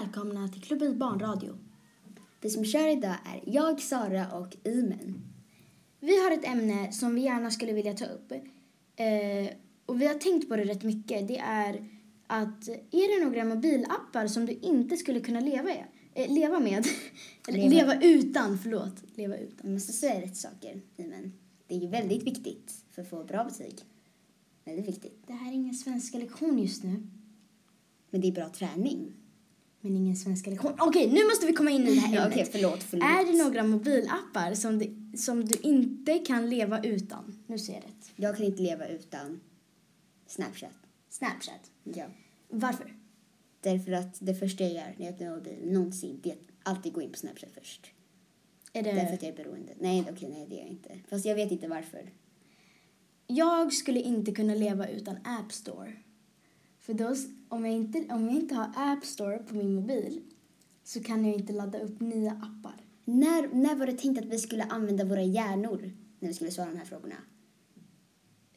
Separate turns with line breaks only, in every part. välkomna till klubbens barnradio.
Vi som kör idag är jag, Sara och Imen.
Vi har ett ämne som vi gärna skulle vilja ta upp. Eh, och vi har tänkt på det rätt mycket. Det är att är det några mobilappar som du inte skulle kunna leva, i, eh, leva med? Eller leva.
Leva.
utan, förlåt. Leva utan.
Man måste säga rätt saker, Imen. Det är ju väldigt viktigt för att få bra betyg. Väldigt viktigt.
Det här är ingen svenska lektion just nu.
Men det är bra träning.
Men ingen svenska lektion. Okej, nu måste vi komma in i det här
Ja,
ämnet.
Okej, förlåt, förlåt.
Är det några mobilappar som du, som du inte kan leva utan? Nu ser jag rätt.
Jag kan inte leva utan Snapchat.
Snapchat.
Ja.
Varför?
Därför att det första jag gör när jag öppnar min mobil någonsin, det är att alltid gå in på Snapchat först.
Är det...
Därför att jag är beroende. Nej, okej, nej det är jag inte. Fast jag vet inte varför.
Jag skulle inte kunna leva utan App Store. För då, s- om, jag inte, om jag inte har App Store på min mobil så kan jag inte ladda upp nya appar.
När, när var det tänkt att vi skulle använda våra hjärnor när vi skulle svara de här frågorna?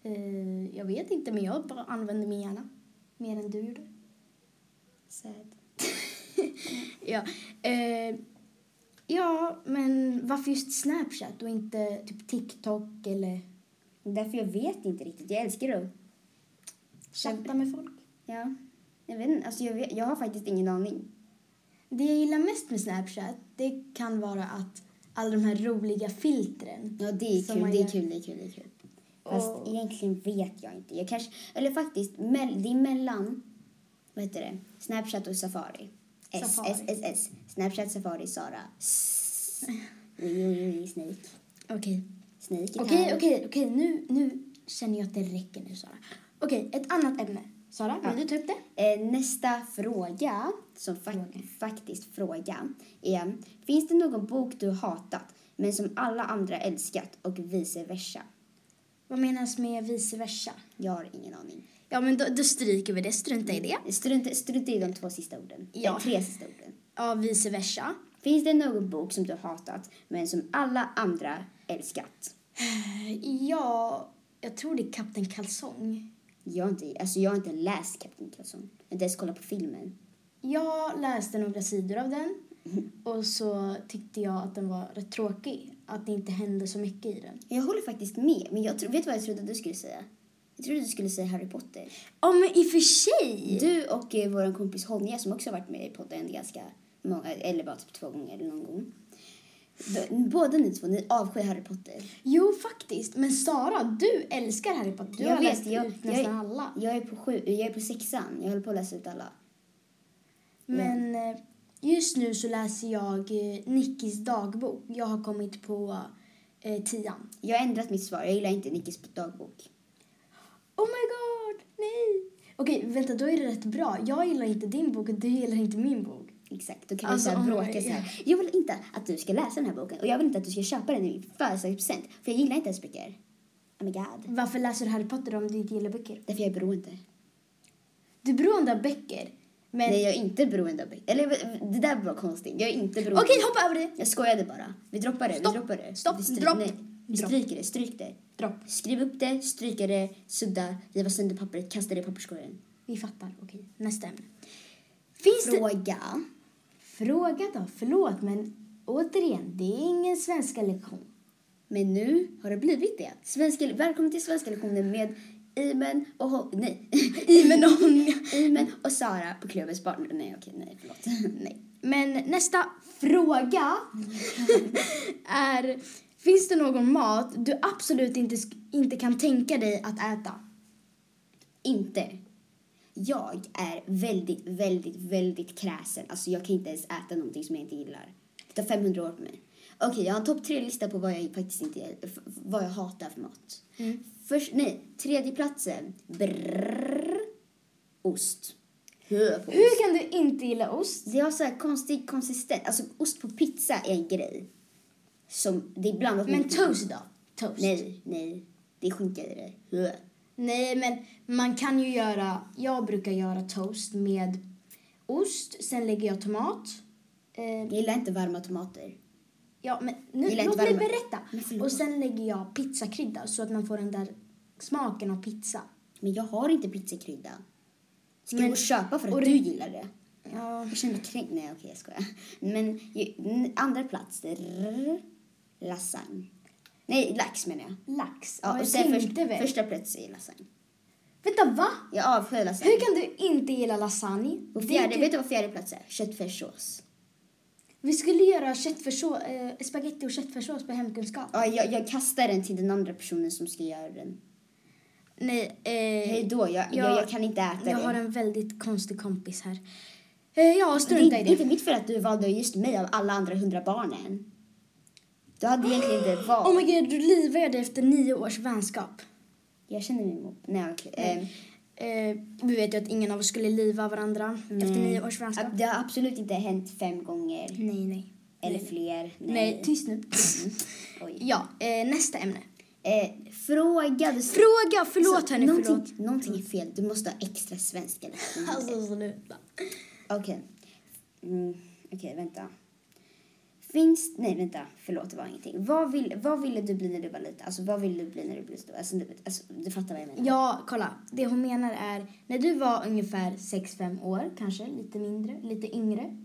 Eh, jag vet inte, men jag bara använder min hjärna. Mer än du gjorde.
Sad.
Ja, eh, ja men varför just Snapchat och inte typ TikTok eller
Därför jag vet inte riktigt. Jag älskar det.
chatta med folk?
Ja. Jag vet inte. Alltså jag, vet, jag har faktiskt ingen aning.
Det jag gillar mest med Snapchat det kan vara att alla de här roliga filtren.
Ja, det är
Som
kul.
man
Det är
gör.
kul, det är kul, det är kul. Fast
Och-
egentligen vet jag inte. Jag kanske, eller faktiskt, mell, det är mellan vad heter det? Snapchat och Safari. S,
Safari.
S, S, S. Snapchat, Safari, Sara. S. Jo, jo, jo, Snake.
Okej.
Snake är
Okej,
här.
okej, okej. Nu, nu känner jag att det räcker nu, Sara. Okej, ett annat ämne. Sara, vill
Ja.
du ta upp det?
Eh, nästa fråga, som fa- faktiskt fråga, är Finns det någon bok du hatat men som alla andra älskat och vice versa?
Vad menas med vice versa?
Jag har ingen aning.
Ja, men då, då stryker vi det. Strunta i det.
Strunt, strunt i de två sista orden.
Ja.
De tre sista orden.
Ja, vice versa.
Finns det någon bok som du hatat men som alla andra älskat?
Ja, jag tror det är Kapten Kalsong.
Jag har inte, alltså jag har inte läst Kapten Kalsong. Jag har inte ens kollat på filmen.
Jag läste några sidor av den och så tyckte jag att den var rätt tråkig. Att det inte hände så mycket i den.
Jag håller faktiskt med, men jag tro, vet du vad jag trodde du skulle säga? Jag trodde du skulle säga Harry Potter.
Ja, men i och för sig!
Du och eh, vår kompis Honja som också har varit med i podden ganska många, eller bara typ två gånger eller någon gång. B- Båda ni två, ni avskyr Harry Potter.
Jo, faktiskt. Men Sara, du älskar Harry Potter. Du har läst ut
jag,
nästan alla.
Jag är på sju, jag är på sexan, jag håller på att läsa ut alla.
Men eh, just nu så läser jag eh, Nickis dagbok. Jag har kommit på eh, tian.
Jag har ändrat mitt svar, jag gillar inte Nickis dagbok.
Oh my god, nej! Okej, vänta, då är det rätt bra. Jag gillar inte din bok och du gillar inte min bok.
Exakt, då kan
Alltså,
vi så
oh
här
my
bråka så här. Jag vill inte att du ska läsa den här boken och jag vill inte att du ska köpa den i min födelsedagspresent för jag gillar inte ens böcker. Oh my god.
Varför läser du Harry Potter om du inte gillar böcker?
Därför jag är beroende.
Du är beroende av böcker, men...
Nej,
Okej,
jag är inte beroende av böcker. Eller det där var konstigt. Jag är inte beroende.
hoppa över det!
Jag skojade bara. Vi droppar det.
Stopp.
Vi droppar det.
Stopp.
Vi, stry-
Dropp.
Nej, vi
Dropp.
stryker det. Stryk det.
Dropp.
Skriv upp det, stryka det, sudda, riva sönder pappret, kasta det i papperskorgen.
Vi fattar, okej. Nästa ämne. Finns det...
Fråga.
Fråga då, förlåt, men återigen, det är ingen svenska lektion.
Men nu har det blivit det. Svenska, välkommen till Svenska lektionen med Imen och... Ho- nej.
Imen och Honja.
Imen och Sara på Klubbens barn. Nej, okej, nej, förlåt.
Nej. Men nästa fråga är... Finns det någon mat du absolut inte, sk- inte kan tänka dig att äta?
Inte. Jag är väldigt, väldigt, väldigt kräsen. Alltså jag kan inte ens äta någonting som jag inte gillar. Det tar 500 år på mig. Okej, jag har en topp tre-lista på vad jag faktiskt inte f- vad jag hatar för mat. Först, nej, tredje platsen. Brrr, ost. Hö på ost.
Hur kan du inte gilla ost?
Det har så här konstig konsistens. Alltså ost på pizza är en grej. Som, det är blandat
Men toast då? Toast.
Nej, nej. Det är skinka i det. Hö.
Nej, men man kan ju göra... Jag brukar göra toast med ost, sen lägger jag tomat. Eh,
Jag gillar inte varma tomater.
ja, men nu,
Gillar
låt
inte
mig
värme.
berätta.
Men förlåt.
Och sen lägger jag pizzakrydda så att man får den där smaken av pizza.
Men jag har inte pizzakrydda. Ska
Men-
jag gå och köpa för att
och
du gillar det?
Ja, Ja.
Jag kände kränkt. Nej, okej, jag skojar. Men ju, n- andra plats, rrr, lasagne. Nej, lax menar jag.
Lax.
Ja, och
jag
sen först,
tänkte väl.
första plats är lasagne.
Vänta, va?
Jag avskyr lasagne.
Hur kan du inte gilla lasagne?
Och fjärde,
Vi- typ-
vet du vad fjärde plats är? Köttfärssås.
Vi skulle göra köttfärssås, eh, spaghetti och köttfärssås på hemkunskap.
Ja, jag, jag kastar den till den andra personen som ska göra den.
Nej,
Hej
eh,
då, jag, jag, jag, kan inte äta
jag
det.
har en väldigt konstig kompis här. Eh, ja,
det
strunta i
är
det.
inte mitt fel att du valde just mig av alla andra hundra barnen. Du hade egentligen inte valt.
Oh my god, du livar dig efter nio års vänskap.
Jag känner mig mobb. Nej, okej. Ehm,
Eh, vi vet ju att ingen av oss skulle liva varandra efter nio års vänskap.
Det har absolut inte hänt fem gånger.
Nej, nej.
Eller
nej.
fler.
Nej. tyst nu.
Mm. Oj.
ja, eh, nästa ämne.
Eh, fråga. Du...
Fråga, förlåt
Alltså,
hörni,
någonting,
förlåt.
Någonting är fel. Du måste ha extra svenska. liksom.
Alltså sluta.
Okej. Mm, Okej, vänta. Finns... Nej, vänta. Förlåt, det var ingenting. Vad, vill, vad ville du bli när du var liten? Alltså, vad ville du bli när du blev stor? Alltså, du, alltså, du fattar vad jag menar.
Ja, kolla. Det hon menar är när du var ungefär 6-5 år, kanske lite mindre, lite yngre.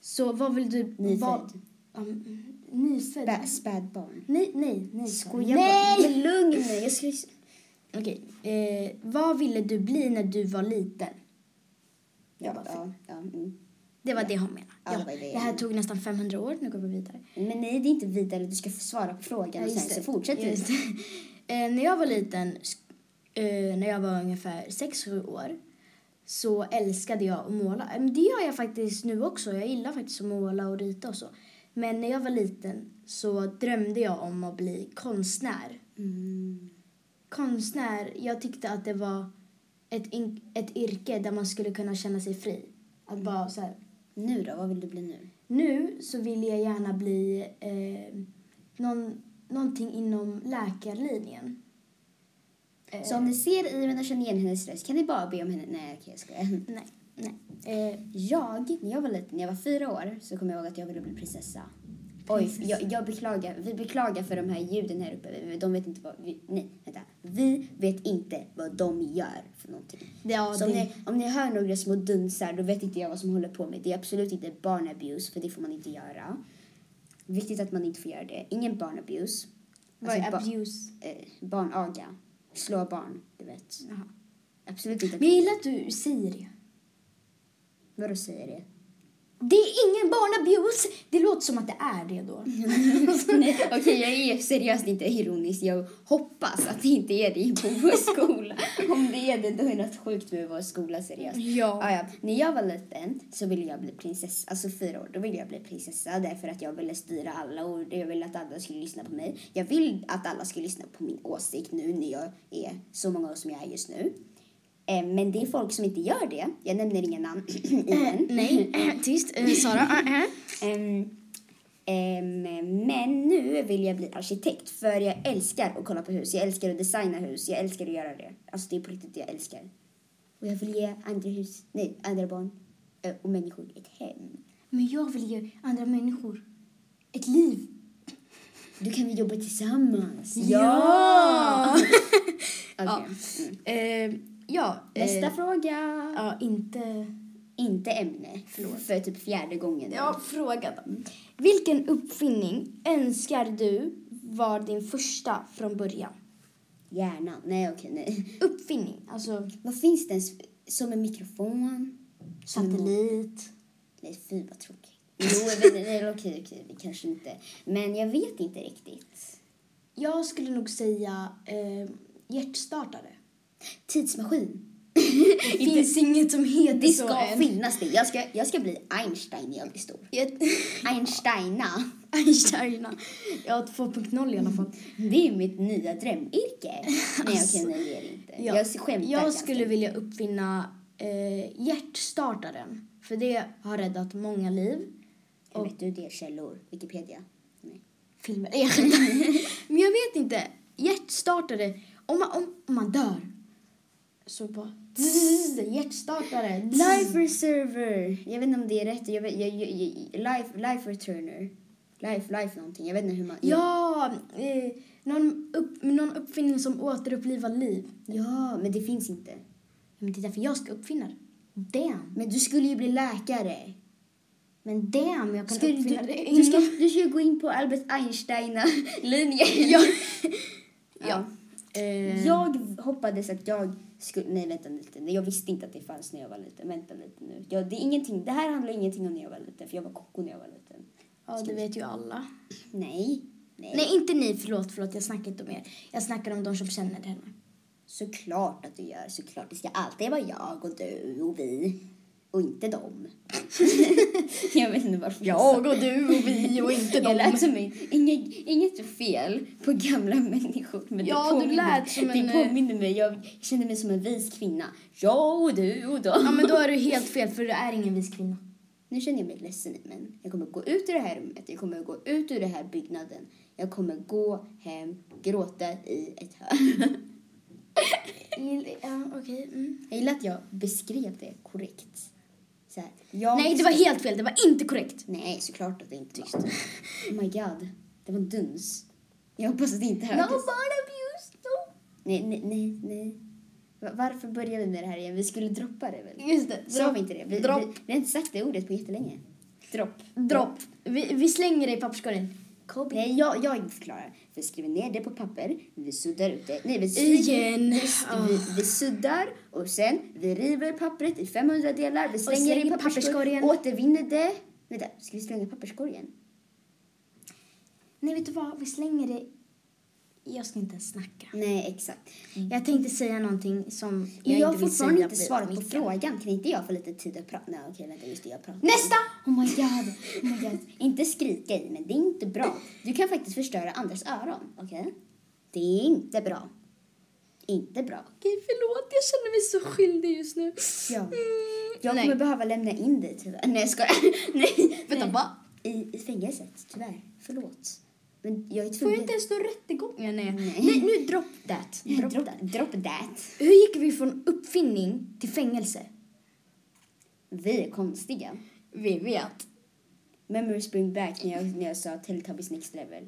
Så vad vill du...
Nyfödd.
Vad, ja, mm, nyfödd?
Spä, spädbarn.
Nej, nej, nej.
Skojar bara.
Nej!
Men lugn nu. Mm, Jag skulle...
Okej. Eh, vad ville du bli när du var liten? Jag
Ja,
bara,
ja, ja, mm.
Det var det hon menade.
Ja, det var det.
här tog nästan 500 år, nu går vi vidare.
Men nej, det är inte vidare. Du ska svara på frågan och sen så fortsätter du.
Just det. Eh, när jag var liten, sk- eh, när jag var ungefär 6-7 år, så älskade jag att måla. Eh, men Det gör jag faktiskt nu också. Jag gillar faktiskt att måla och rita och så. Men när jag var liten så drömde jag om att bli konstnär.
Mm.
Konstnär, jag tyckte att det var ett, in- ett yrke där man skulle kunna känna sig fri. Att bara så här,
Nu då? Vad vill du bli nu?
nu så vill jag gärna bli eh, någon, någonting inom läkarlinjen. Eh,
Så om ni ser Iven och känner igen hennes röst kan ni bara be om henne... Nej, okej, jag skojar.
Nej, nej. Eh,
Jag, när jag var liten, när jag var fyra år, så kom jag ihåg att jag ville bli prinsessa. Oj,
Prinsessa.
jag, jag beklagar. Vi beklagar för de här ljuden här uppe. Vi- De vet inte vad... Vi, nej, vänta. Vi vet inte vad de gör för någonting.
ja,
så
det,
om ni, om ni hör några små dunsar, då vet inte jag vad som håller på med. Det är absolut inte barnabuse, för det får man inte göra. Viktigt att man inte får göra det. Ingen barnabuse.
vad är
ba-
abuse?
eh, barnaga. Slå barn, du vet.
Jaha.
Absolut inte.
Men jag gillar att du säger det.
Vadå säger det?
Det är ingen barnabuse! Det låter som att det är det då.
Nej, Okej, jag är seriöst inte ironisk. Jag hoppas att det inte är det på vår skola. Om det är det, då är det något sjukt med vår skola seriöst.
Ja.
Ah, ja. När jag var liten så ville jag bli prinsessa, alltså fyra år, då ville jag bli prinsessa därför att jag ville styra alla och jag ville att alla skulle lyssna på mig. Jag vill att alla ska lyssna på min åsikt nu när jag är så många år som jag är just nu. Eh, men det är folk som inte gör det. Jag nämner inga namn i den.
Nej, eh, tyst. Eh, Sara. eh, eh.
Ehm, ehm, men nu vill jag bli arkitekt för jag älskar att kolla på hus. Jag älskar att designa hus. Jag älskar att göra det. Alltså det är på riktigt det jag älskar. Och jag vill ge andra hus, nej, andra barn eh, och människor ett hem.
Men jag vill ge andra människor ett liv.
Då kan vi jobba tillsammans. Okej.
Ja.
Mm.
Eh, ja. eh,
Nästa fråga.
Ja, inte...
Inte ämne. För typ fjärde gången.
Ja, fråga då. Vilken uppfinning önskar du var din första från början?
Hjärnan. Nej, okej, nej.
Uppfinning, alltså
Vad finns det ens som en mikrofon?
satellit.
Nej, fy vad tråkigt. Jo, men, nej, okej, okej, vi kanske inte. Men jag vet inte riktigt.
Jag skulle nog säga eh, hjärtstartare.
Tidsmaskin.
Det finns inget som heter
Det
så
ska
än.
finnas det. Jag ska, jag ska bli Einstein när jag blir stor.
Jag-
Einsteina.
Einsteina. Jag har 2.0 i alla fall.
Det är mitt nya drömyrke. Nej, okej, nej, det är det inte.
Ja.
Alltså, Jag skämtar.
Jag
ganska
skulle vilja uppfinna eh, hjärtstartaren. För det har räddat många liv.
mycket. Vet du det? Källor. Wikipedia. Nej.
filmer. Nej, jag skämtar. Men jag vet inte. Hjärtstartare. Om man, om, om man dör så bara... Zzz, hjärtstartare. Zzz.
Life Reserver. Jag vet inte om det är rätt. Jag vet, jag, jag, jag, life, life Returner. Life, life någonting. Jag vet inte hur man...
Ja, eh, någon, upp, någon uppfinning som återupplivar liv.
ja, men det finns inte.
Men det är därför jag ska uppfinna det. Damn.
Men du skulle ju bli läkare.
Men damn, jag kan
Skulle du,
uppfinna det
du,
inom...
ska, du ska ju gå in på Albert Einstein-linjen.
Ja.
ja.
Eh,
Jag hoppades att jag skulle... Nej, vänta lite. Jag visste inte att det fanns när jag var liten. Vänta lite nu. Ja, det, är ingenting, det här handlar ingenting om när jag var liten, för jag var koko när jag var liten.
Ja, det vet ju alla.
Nej. Nej.
Nej, inte ni. Förlåt, förlåt. Jag snackar inte om er. Jag snackar om de som känner henne.
Såklart att du gör. Såklart. Det ska alltid vara jag och du och vi. Och inte dem. jag vet inte varför
och du och vi och inte
Jag lät som en, inget, inget fel på gamla människor. Men
Ja,
det
du
påminner,
lät som en,
Det
eh,
påminner mig. Jag kände mig som en vis kvinna. Jag och du och dem.
Ja, men då är du helt fel, för du är ingen vis kvinna.
Nu känner jag mig ledsen men jag kommer gå ut ur det här rummet. Jag kommer gå ut ur den här byggnaden. Jag kommer gå hem, gråta i ett hörn.
Ja, okej. Mm.
Jag gillar att jag beskrev det korrekt. Så här, jag
Nej, det var helt fel. Det var inte korrekt.
Nej, såklart att det inte var. Oh my god. Det var duns. Jag hoppas att det inte hördes.
abuse, no.
Nej, nej, nej, nej. Va- Varför började vi med det här igen? Vi skulle droppa det väl?
Just det.
Sa vi inte det? Vi,
Dropp.
vi, vi har inte sagt det ordet på jättelänge. Dropp.
Dropp. Vi, vi slänger det i papperskorgen. Kobe.
Nej, jag, jag förklarar. Vi skriver ner det på papper, vi suddar ut det. Nej, vi,
Igen.
Vi, vi, vi suddar och sen vi river pappret i 500 delar. Vi slänger det i
slänger
papperskorgen,
papperskorgen.
Återvinner det. Vänta, ska vi slänga papperskorgen?
Nej, vet du vad? Vi slänger det... Jag ska inte ens snacka.
Nej, exakt.
Jag tänkte säga någonting som
Jag,
jag,
har
inte vill
fortfarande
säga
inte svarat på
micken.
frågan. Kan inte jag få lite tid att prata? Nej, okej, vänta. Just det, jag pratar.
Nästa!
Oh my god. Oh my god. inte skrika i men det är inte bra. Du kan faktiskt förstöra andras öron, okej? Det är inte bra. Inte bra.
Okej, förlåt. Jag känner mig så skyldig just nu.
Ja.
Mm,
Jag
nej.
kommer behöva lämna in dig tyvärr. Nej jag skojar. Nej.
Vänta,
nej.
va?
I, I fängelset, tyvärr. Förlåt. Men jag är
Får jag
tvungen.
inte ens någon rättegång? Ja, nej.
Nej.
nej. nej, nu drop that.
Nej,
Drop
Drop,
that.
drop that.
Hur gick vi från uppfinning till fängelse?
Vi är konstiga.
Vi vet.
Memories bring back när jag, när jag sa Teletubbies next level.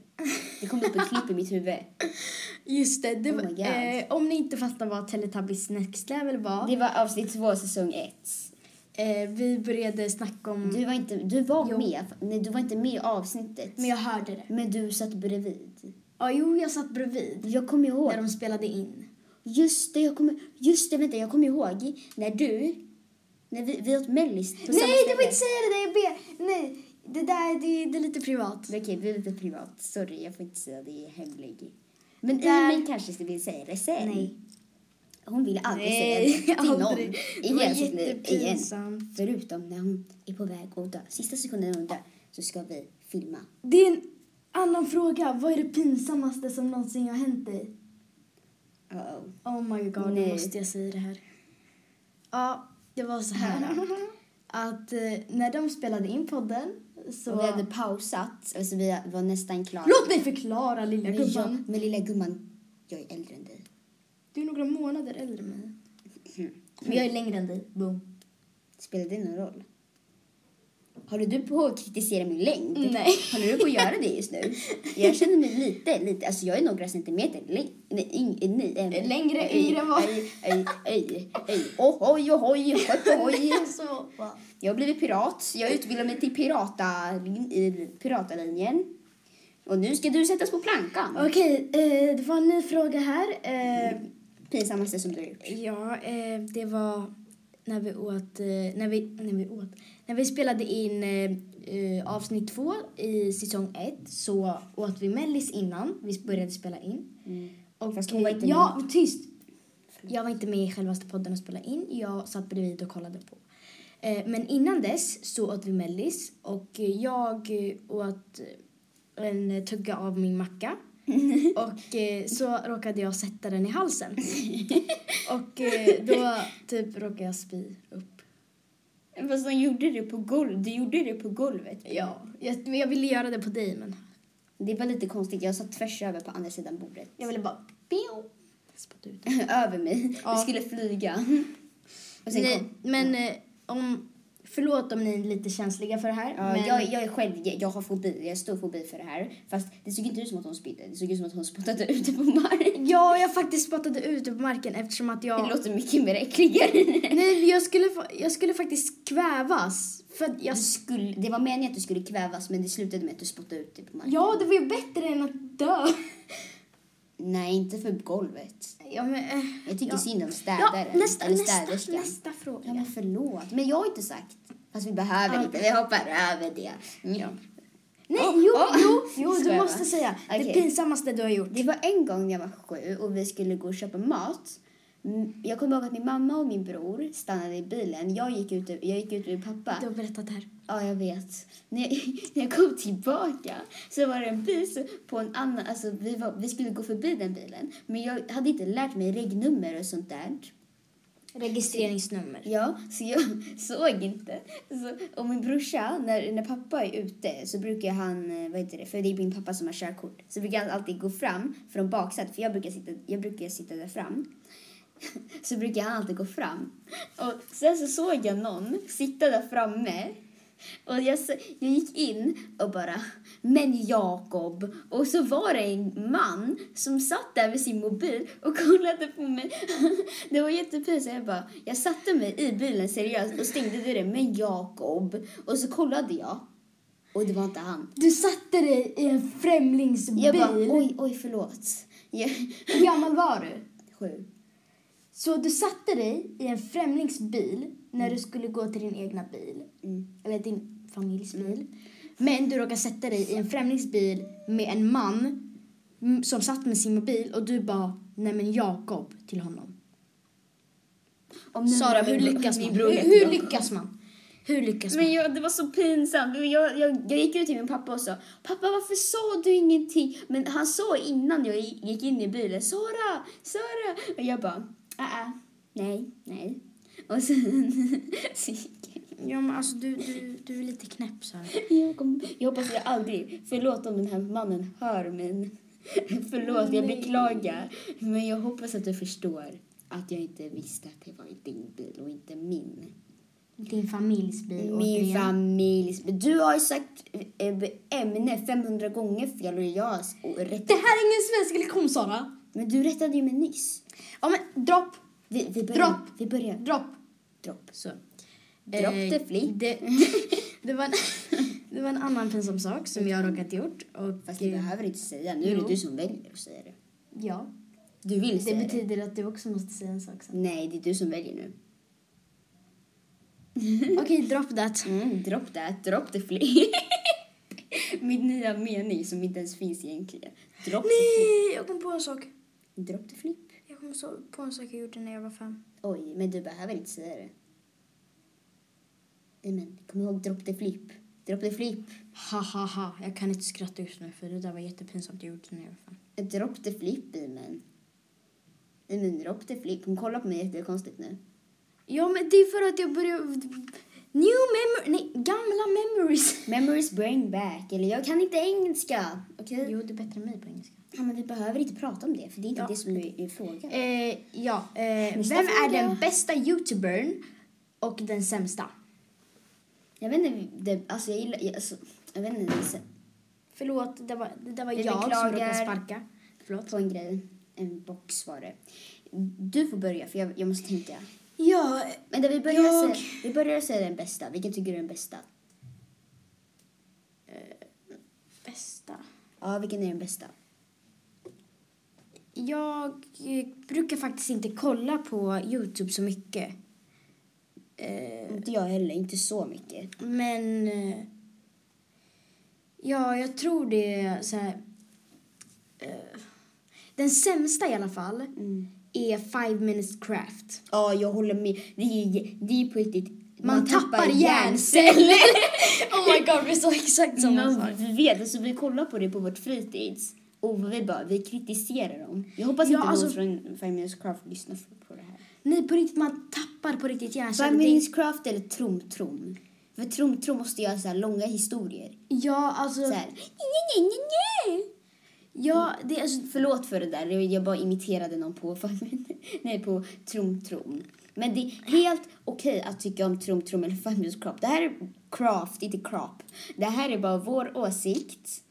Det kom upp ett klipp i mitt huvud.
Just det. det
Oh
var,
my God.
eh, om ni inte fattar vad Teletubbies Next Level var.
Det var avsnitt två, säsong ett.
Eh, vi började snacka om...
Du var inte, du var
Jo.
med. Nej, du var inte med i avsnittet.
Men jag hörde det.
Men du satt bredvid.
Ja, jo, jag satt bredvid
Jag kommer ihåg.
när de spelade in.
Just det, jag kommer, just det, vänta, jag kommer ihåg när du, när vi, vi åt mellis på samma
Nej, du får
ställe.
inte säga det där! Jag ber! Nej, det där det, det är lite privat.
Okej, vi är lite privat. Sorry, jag får inte säga det. Jag är hemlig. Men
Där-
Emil kanske vill säga det sen.
Nej.
Hon vill aldrig
Nej,
säga det till någon.
aldrig. Det var
Igen, så- igen.
jättepinsamt.
Förutom när hon är på väg att dö. Sista sekunden hon dör så ska vi filma.
Det är en annan fråga. Vad är det pinsammaste som någonsin har hänt dig?
Uh-oh.
Oh my god,
Nej.
nu måste jag säga det här. Ja, det var så
Mm.
här att eh, när de spelade in podden så...
Och vi hade pausat, alltså vi var nästan klara.
Låt mig förklara lilla
Men jag,
gumman.
men lilla gumman, jag är äldre än dig.
Du är några månader äldre än mig.
Mm.
Men jag är längre än dig. Boom.
Spelar det någon roll? Håller du på att kritisera min längd?
Nej.
Håller du på att göra det just nu? Jag känner mig lite, lite, alltså jag är några centimeter längre. Nej, ing- eh, nej, eh,
Längre,
ej,
yngre än vad-
Ej, ej, ej, ej. Ohoj, ohoj, ohoj.
så...
Jag har blivit pirat. Jag utbildar mig till pirata, i piratalinjen. Och nu ska du sättas på plankan.
Okej, eh, det var en ny fråga här. Eh,
Pinsammaste som du har gjort.
Ja, eh, det var när vi åt, eh, när vi, när vi åt, när vi spelade in eh, eh, avsnitt två i säsong ett så åt vi mellis innan vi började spela in. Och
Fast hon var inte
Ja, tyst! Jag var inte med i självaste podden och spelade in. Jag satt bredvid och kollade på. Eh, men innan dess så åt vi mellis och eh, jag eh, åt eh, en tugga av min macka. Och eh, så råkade jag sätta den i halsen. Och eh, då typ råkade jag spy upp.
Fast de gjorde det på golvet. Du gjorde det på golvet.
Ja, jag, men jag ville göra det på dig men
Det var lite konstigt. Jag satt tvärs över på andra sidan bordet.
jag ville bara pio. Spott ut.
över mig.
Ja.
Jag skulle flyga. Och sen
Nej,
kom.
men eh, om Förlåt om ni är lite känsliga för det här.
Ja, jag, jag är själv, jag, jag har fobi, jag har stor fobi för det här. Fast det såg inte ut som att hon spydde, det såg ut som att hon spottade ut det på marken.
ja, jag faktiskt spottade ut det på marken eftersom att jag...
Det låter mycket mer äckligare.
Nej, jag skulle, fa- jag skulle faktiskt kvävas. För att jag...
Du skulle, det var meningen att du skulle kvävas men det slutade med att du spottade ut det på marken.
Ja, det var ju bättre än att dö.
Nej, inte för golvet.
Ja, men, eh,
Jag tycker
ja.
synd om
Ja,
städaren.
nästa,
eller
nästa,
städerskan.
nästa
Ja,
fråga.
men förlåt. Men jag har inte sagt. Fast vi behöver
Ja.
inte, vi hoppar över det. Mm.
Nej,
Oh,
jo,
oh.
jo, jo, du
Skojar bara.
måste säga. Det
Okej.
pinsammaste du har gjort.
Det var en gång när jag var sju och vi skulle gå och köpa mat. Mm, Jag kommer ihåg att min mamma och min bror stannade i bilen. Jag gick ut, jag gick ut med pappa.
Du har berättat det här.
Ja, jag vet. När jag, när jag kom tillbaka så var det en bil så- på en annan... Alltså, vi, var, vi skulle gå förbi den bilen, men jag hade inte lärt mig regnummer och sånt där.
Registreringsnummer.
Ja, så jag såg inte. Så, och min brorsa, när, när pappa är ute så brukar han, eh, vad heter det, för det är min pappa som har körkort, så brukar han alltid gå fram från baksätet, för jag brukar sitta, jag brukar sitta där fram. Så brukar han alltid gå fram. Och sen så såg jag någon sitta där framme och jag, s- jag gick in och bara, men Jakob. Och så var det en man som satt där med sin mobil och kollade på mig. Det var jättepinsamt. Jag bara, jag satte mig i bilen seriöst och stängde dörren, men Jakob. Och så kollade jag och det var inte han.
Du satte dig i en främlings
Jag bara,
bil.
oj, oj, förlåt. Jag,
Hur gammal var du?
sju.
Så du satte dig i en främlingsbil när du skulle gå till din egna bil. Eller din familjs bil. Men du råkade sätta dig i en främlingsbil med en man mm, som satt med sin mobil och du bara nej men Jakob till honom.
Om nu
Sara,
var min
hur
bro-
lyckas man?
min bror
Hur,
heter
hur
Jakob.
lyckas man? Hur lyckas man?
Men jag, det var så pinsamt. Jag, jag, jag gick ut till min pappa och sa Pappa varför sa du ingenting? Men han sa innan jag gi- gick in i bilen Sara, Sara! Och jag bara "Ah, ah, nej, nej. Och sen så gick jag.
Ja men alltså du, du, du är lite knäpp så här.
Jag, kom, jag hoppas att jag aldrig, förlåt om den här mannen hör men förlåt jag
Nej.
beklagar. Men jag hoppas att du förstår att jag inte visste att det var din bil och inte min.
Din familjs bil
Min
återigen.
familj. Du har ju sagt eh, ämne 500 gånger fel och jag har s- och
Det
rätt.
här är ingen svensk lektion Sara.
Men du rättade ju mig nyss.
Ja men dropp,
Vi, vi börjar.
Dropp.
Vi börjar.
dropp.
Dropp.
Så. Eh,
Dropp the flea.
Det, det, var en, det var en annan pinsam sak som jag råkat gjort. Och,
Fast vi
eh,
behöver inte säga. Nu är det
Jo.
du som väljer att säga det.
ja,
Du vill
det
säga det.
betyder att du också måste säga en sak sen.
Nej, det är du som väljer nu.
Okej, drop that.
Mm, dropp det. Dropp the flea. Min nya mening som inte ens finns egentligen. Dropp the flea.
Nej, jag kom på en sak.
Dropp the flip.
Jag kom så- på en sak jag gjorde när jag var fem.
Oj, men du behöver inte säga det. Nej, men kom ihåg dropp the flip. Dropp the flip.
Ha, ha, ha. Jag kan inte skratta just nu för det där var jättepinsamt jag gjorde när jag var fem.
Ett dropp the flip i men. I men dropp the flip. Hon kollar på mig jättekonstigt nu.
Ja, men det är för att jag började... New memory... Nej, gamla memories.
Memories bring back. Eller jag kan inte engelska. Okej?
Jo, du är bättre än mig på engelska.
Ja, men vi behöver inte prata om det. För det är inte
Ja.
det som är, är frågan.
Eh, ja, eh,
Nästa
vem är
fråga.
den bästa youtubern och den sämsta?
Jag vet inte. Det, alltså jag gillar... Jag, alltså, jag vet inte. det är så-
Förlåt, det var, det där var
Vi
jag, som råkade
beklagar.
sparka. Förlåt.
På en grej. En box var det. Du får börja för jag, jag måste tänka.
Ja,
Men där vi börjar
Jag-
säga, vi börjar säga den bästa. Vilken tycker du är den bästa?
bästa.
Ja, vilken är den bästa?
Jag eh, brukar faktiskt inte kolla på Youtube så mycket. Eh,
Inte jag heller, inte så mycket.
men... Eh, ja, jag tror det är så här... Eh, den sämsta i alla fall
Mm.
är Five Minutes Craft.
Ja, jag håller med. Det är, det är på riktigt...
Man, tappar, hjärnceller! oh my god, vi sa exakt samma sak.
Man vet, alltså, vi kollar på det på vårt fritids och vi bara, vi kritiserar dem. Jag hoppas
Ja,
inte
alltså-
någon från Five Minutes Craft lyssnar på det här.
Nej, på riktigt, man tappar på riktigt
Five
hjärnceller. Det är-
Minutes Craft eller Trom Trom? För Trom Trom måste göra så här långa historier.
Ja, alltså... Mm.
Så här, "Nj, nj, nj, nj, nj."
Ja, det är alltså...
Förlåt för det där, jag bara imiterade någon på Five Minutes... Nej, på Trom Trom. Men det är helt okej att tycka om Trom Trom eller Familjeskrap. Det här är craft, inte crop. Det här är bara vår åsikt.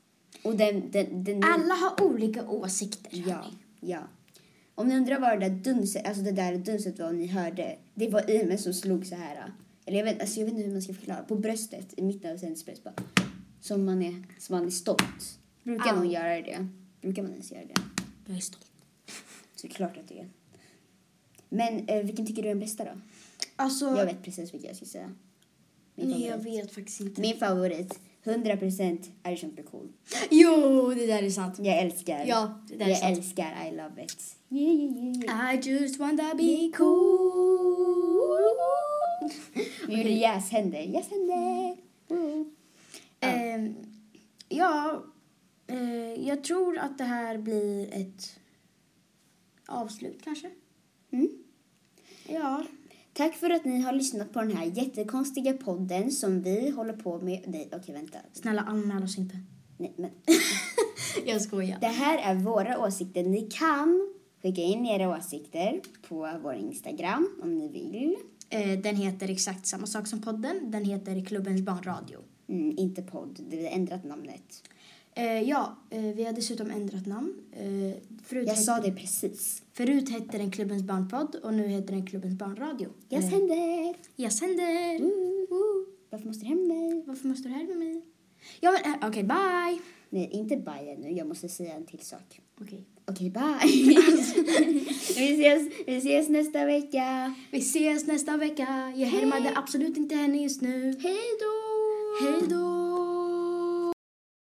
Och den... den, den
Alla har olika åsikter.
Ja,
hörni.
ja. Om ni undrar vad det där dunset, alltså det där dunset var ni hörde. Det var i mig som slog så här. Eller jag vet, alltså jag vet inte hur man ska förklara. På bröstet, i mitten av sändningsbröst bara. Som man är, som man är stolt. Brukar
Ja.
någon göra det? Brukar man ens göra det?
Jag är stolt.
Såklart att det är. Men eh, vilken tycker du är den bästa då?
Alltså,
Jag vet precis vilken jag ska säga. Min
nej, jag
favorit.
vet faktiskt inte.
Min favorit, 100% Irish Uncle Cool.
Jo, det där är sant.
Jag älskar.
Ja, det där är
jag
sant.
älskar I love it. Yeah, yeah, yeah, yeah.
I just wanna be cool.
Vi gjorde jäshänder. Jäshänder!
Ehm, ja, eh, jag tror att det här blir ett avslut kanske.
Mm.
Ja.
Tack för att ni har lyssnat på den här jättekonstiga podden som vi håller på med. Nej, okej, vänta.
Snälla anmäl oss inte.
Nej, men.
Jag skojar.
Det här är våra åsikter. Ni kan skicka in era åsikter på vår Instagram om ni vill.
Eh, den heter exakt samma sak som podden. Den heter Klubbens barnradio.
Mm, inte podd, vi har ändrat namnet.
Eh, ja, eh, vi har dessutom ändrat namn. Eh, förut,
Jag
hette-
sa det precis.
förut hette den Klubbens barnpodd och nu heter den Klubbens barnradio.
Jag
Eh,
sänder!
jag sänder.
Ooh. Varför måste du hem mig?
Varför måste du här med mig? Ja, men eh, okej, bye!
Nej, inte bye nu. Jag måste säga en till sak.
Okej.
Okej, bye! vi, ses, vi ses nästa vecka.
Vi ses nästa vecka. Jag härmade absolut inte henne just nu.
Hej då!
Hej då!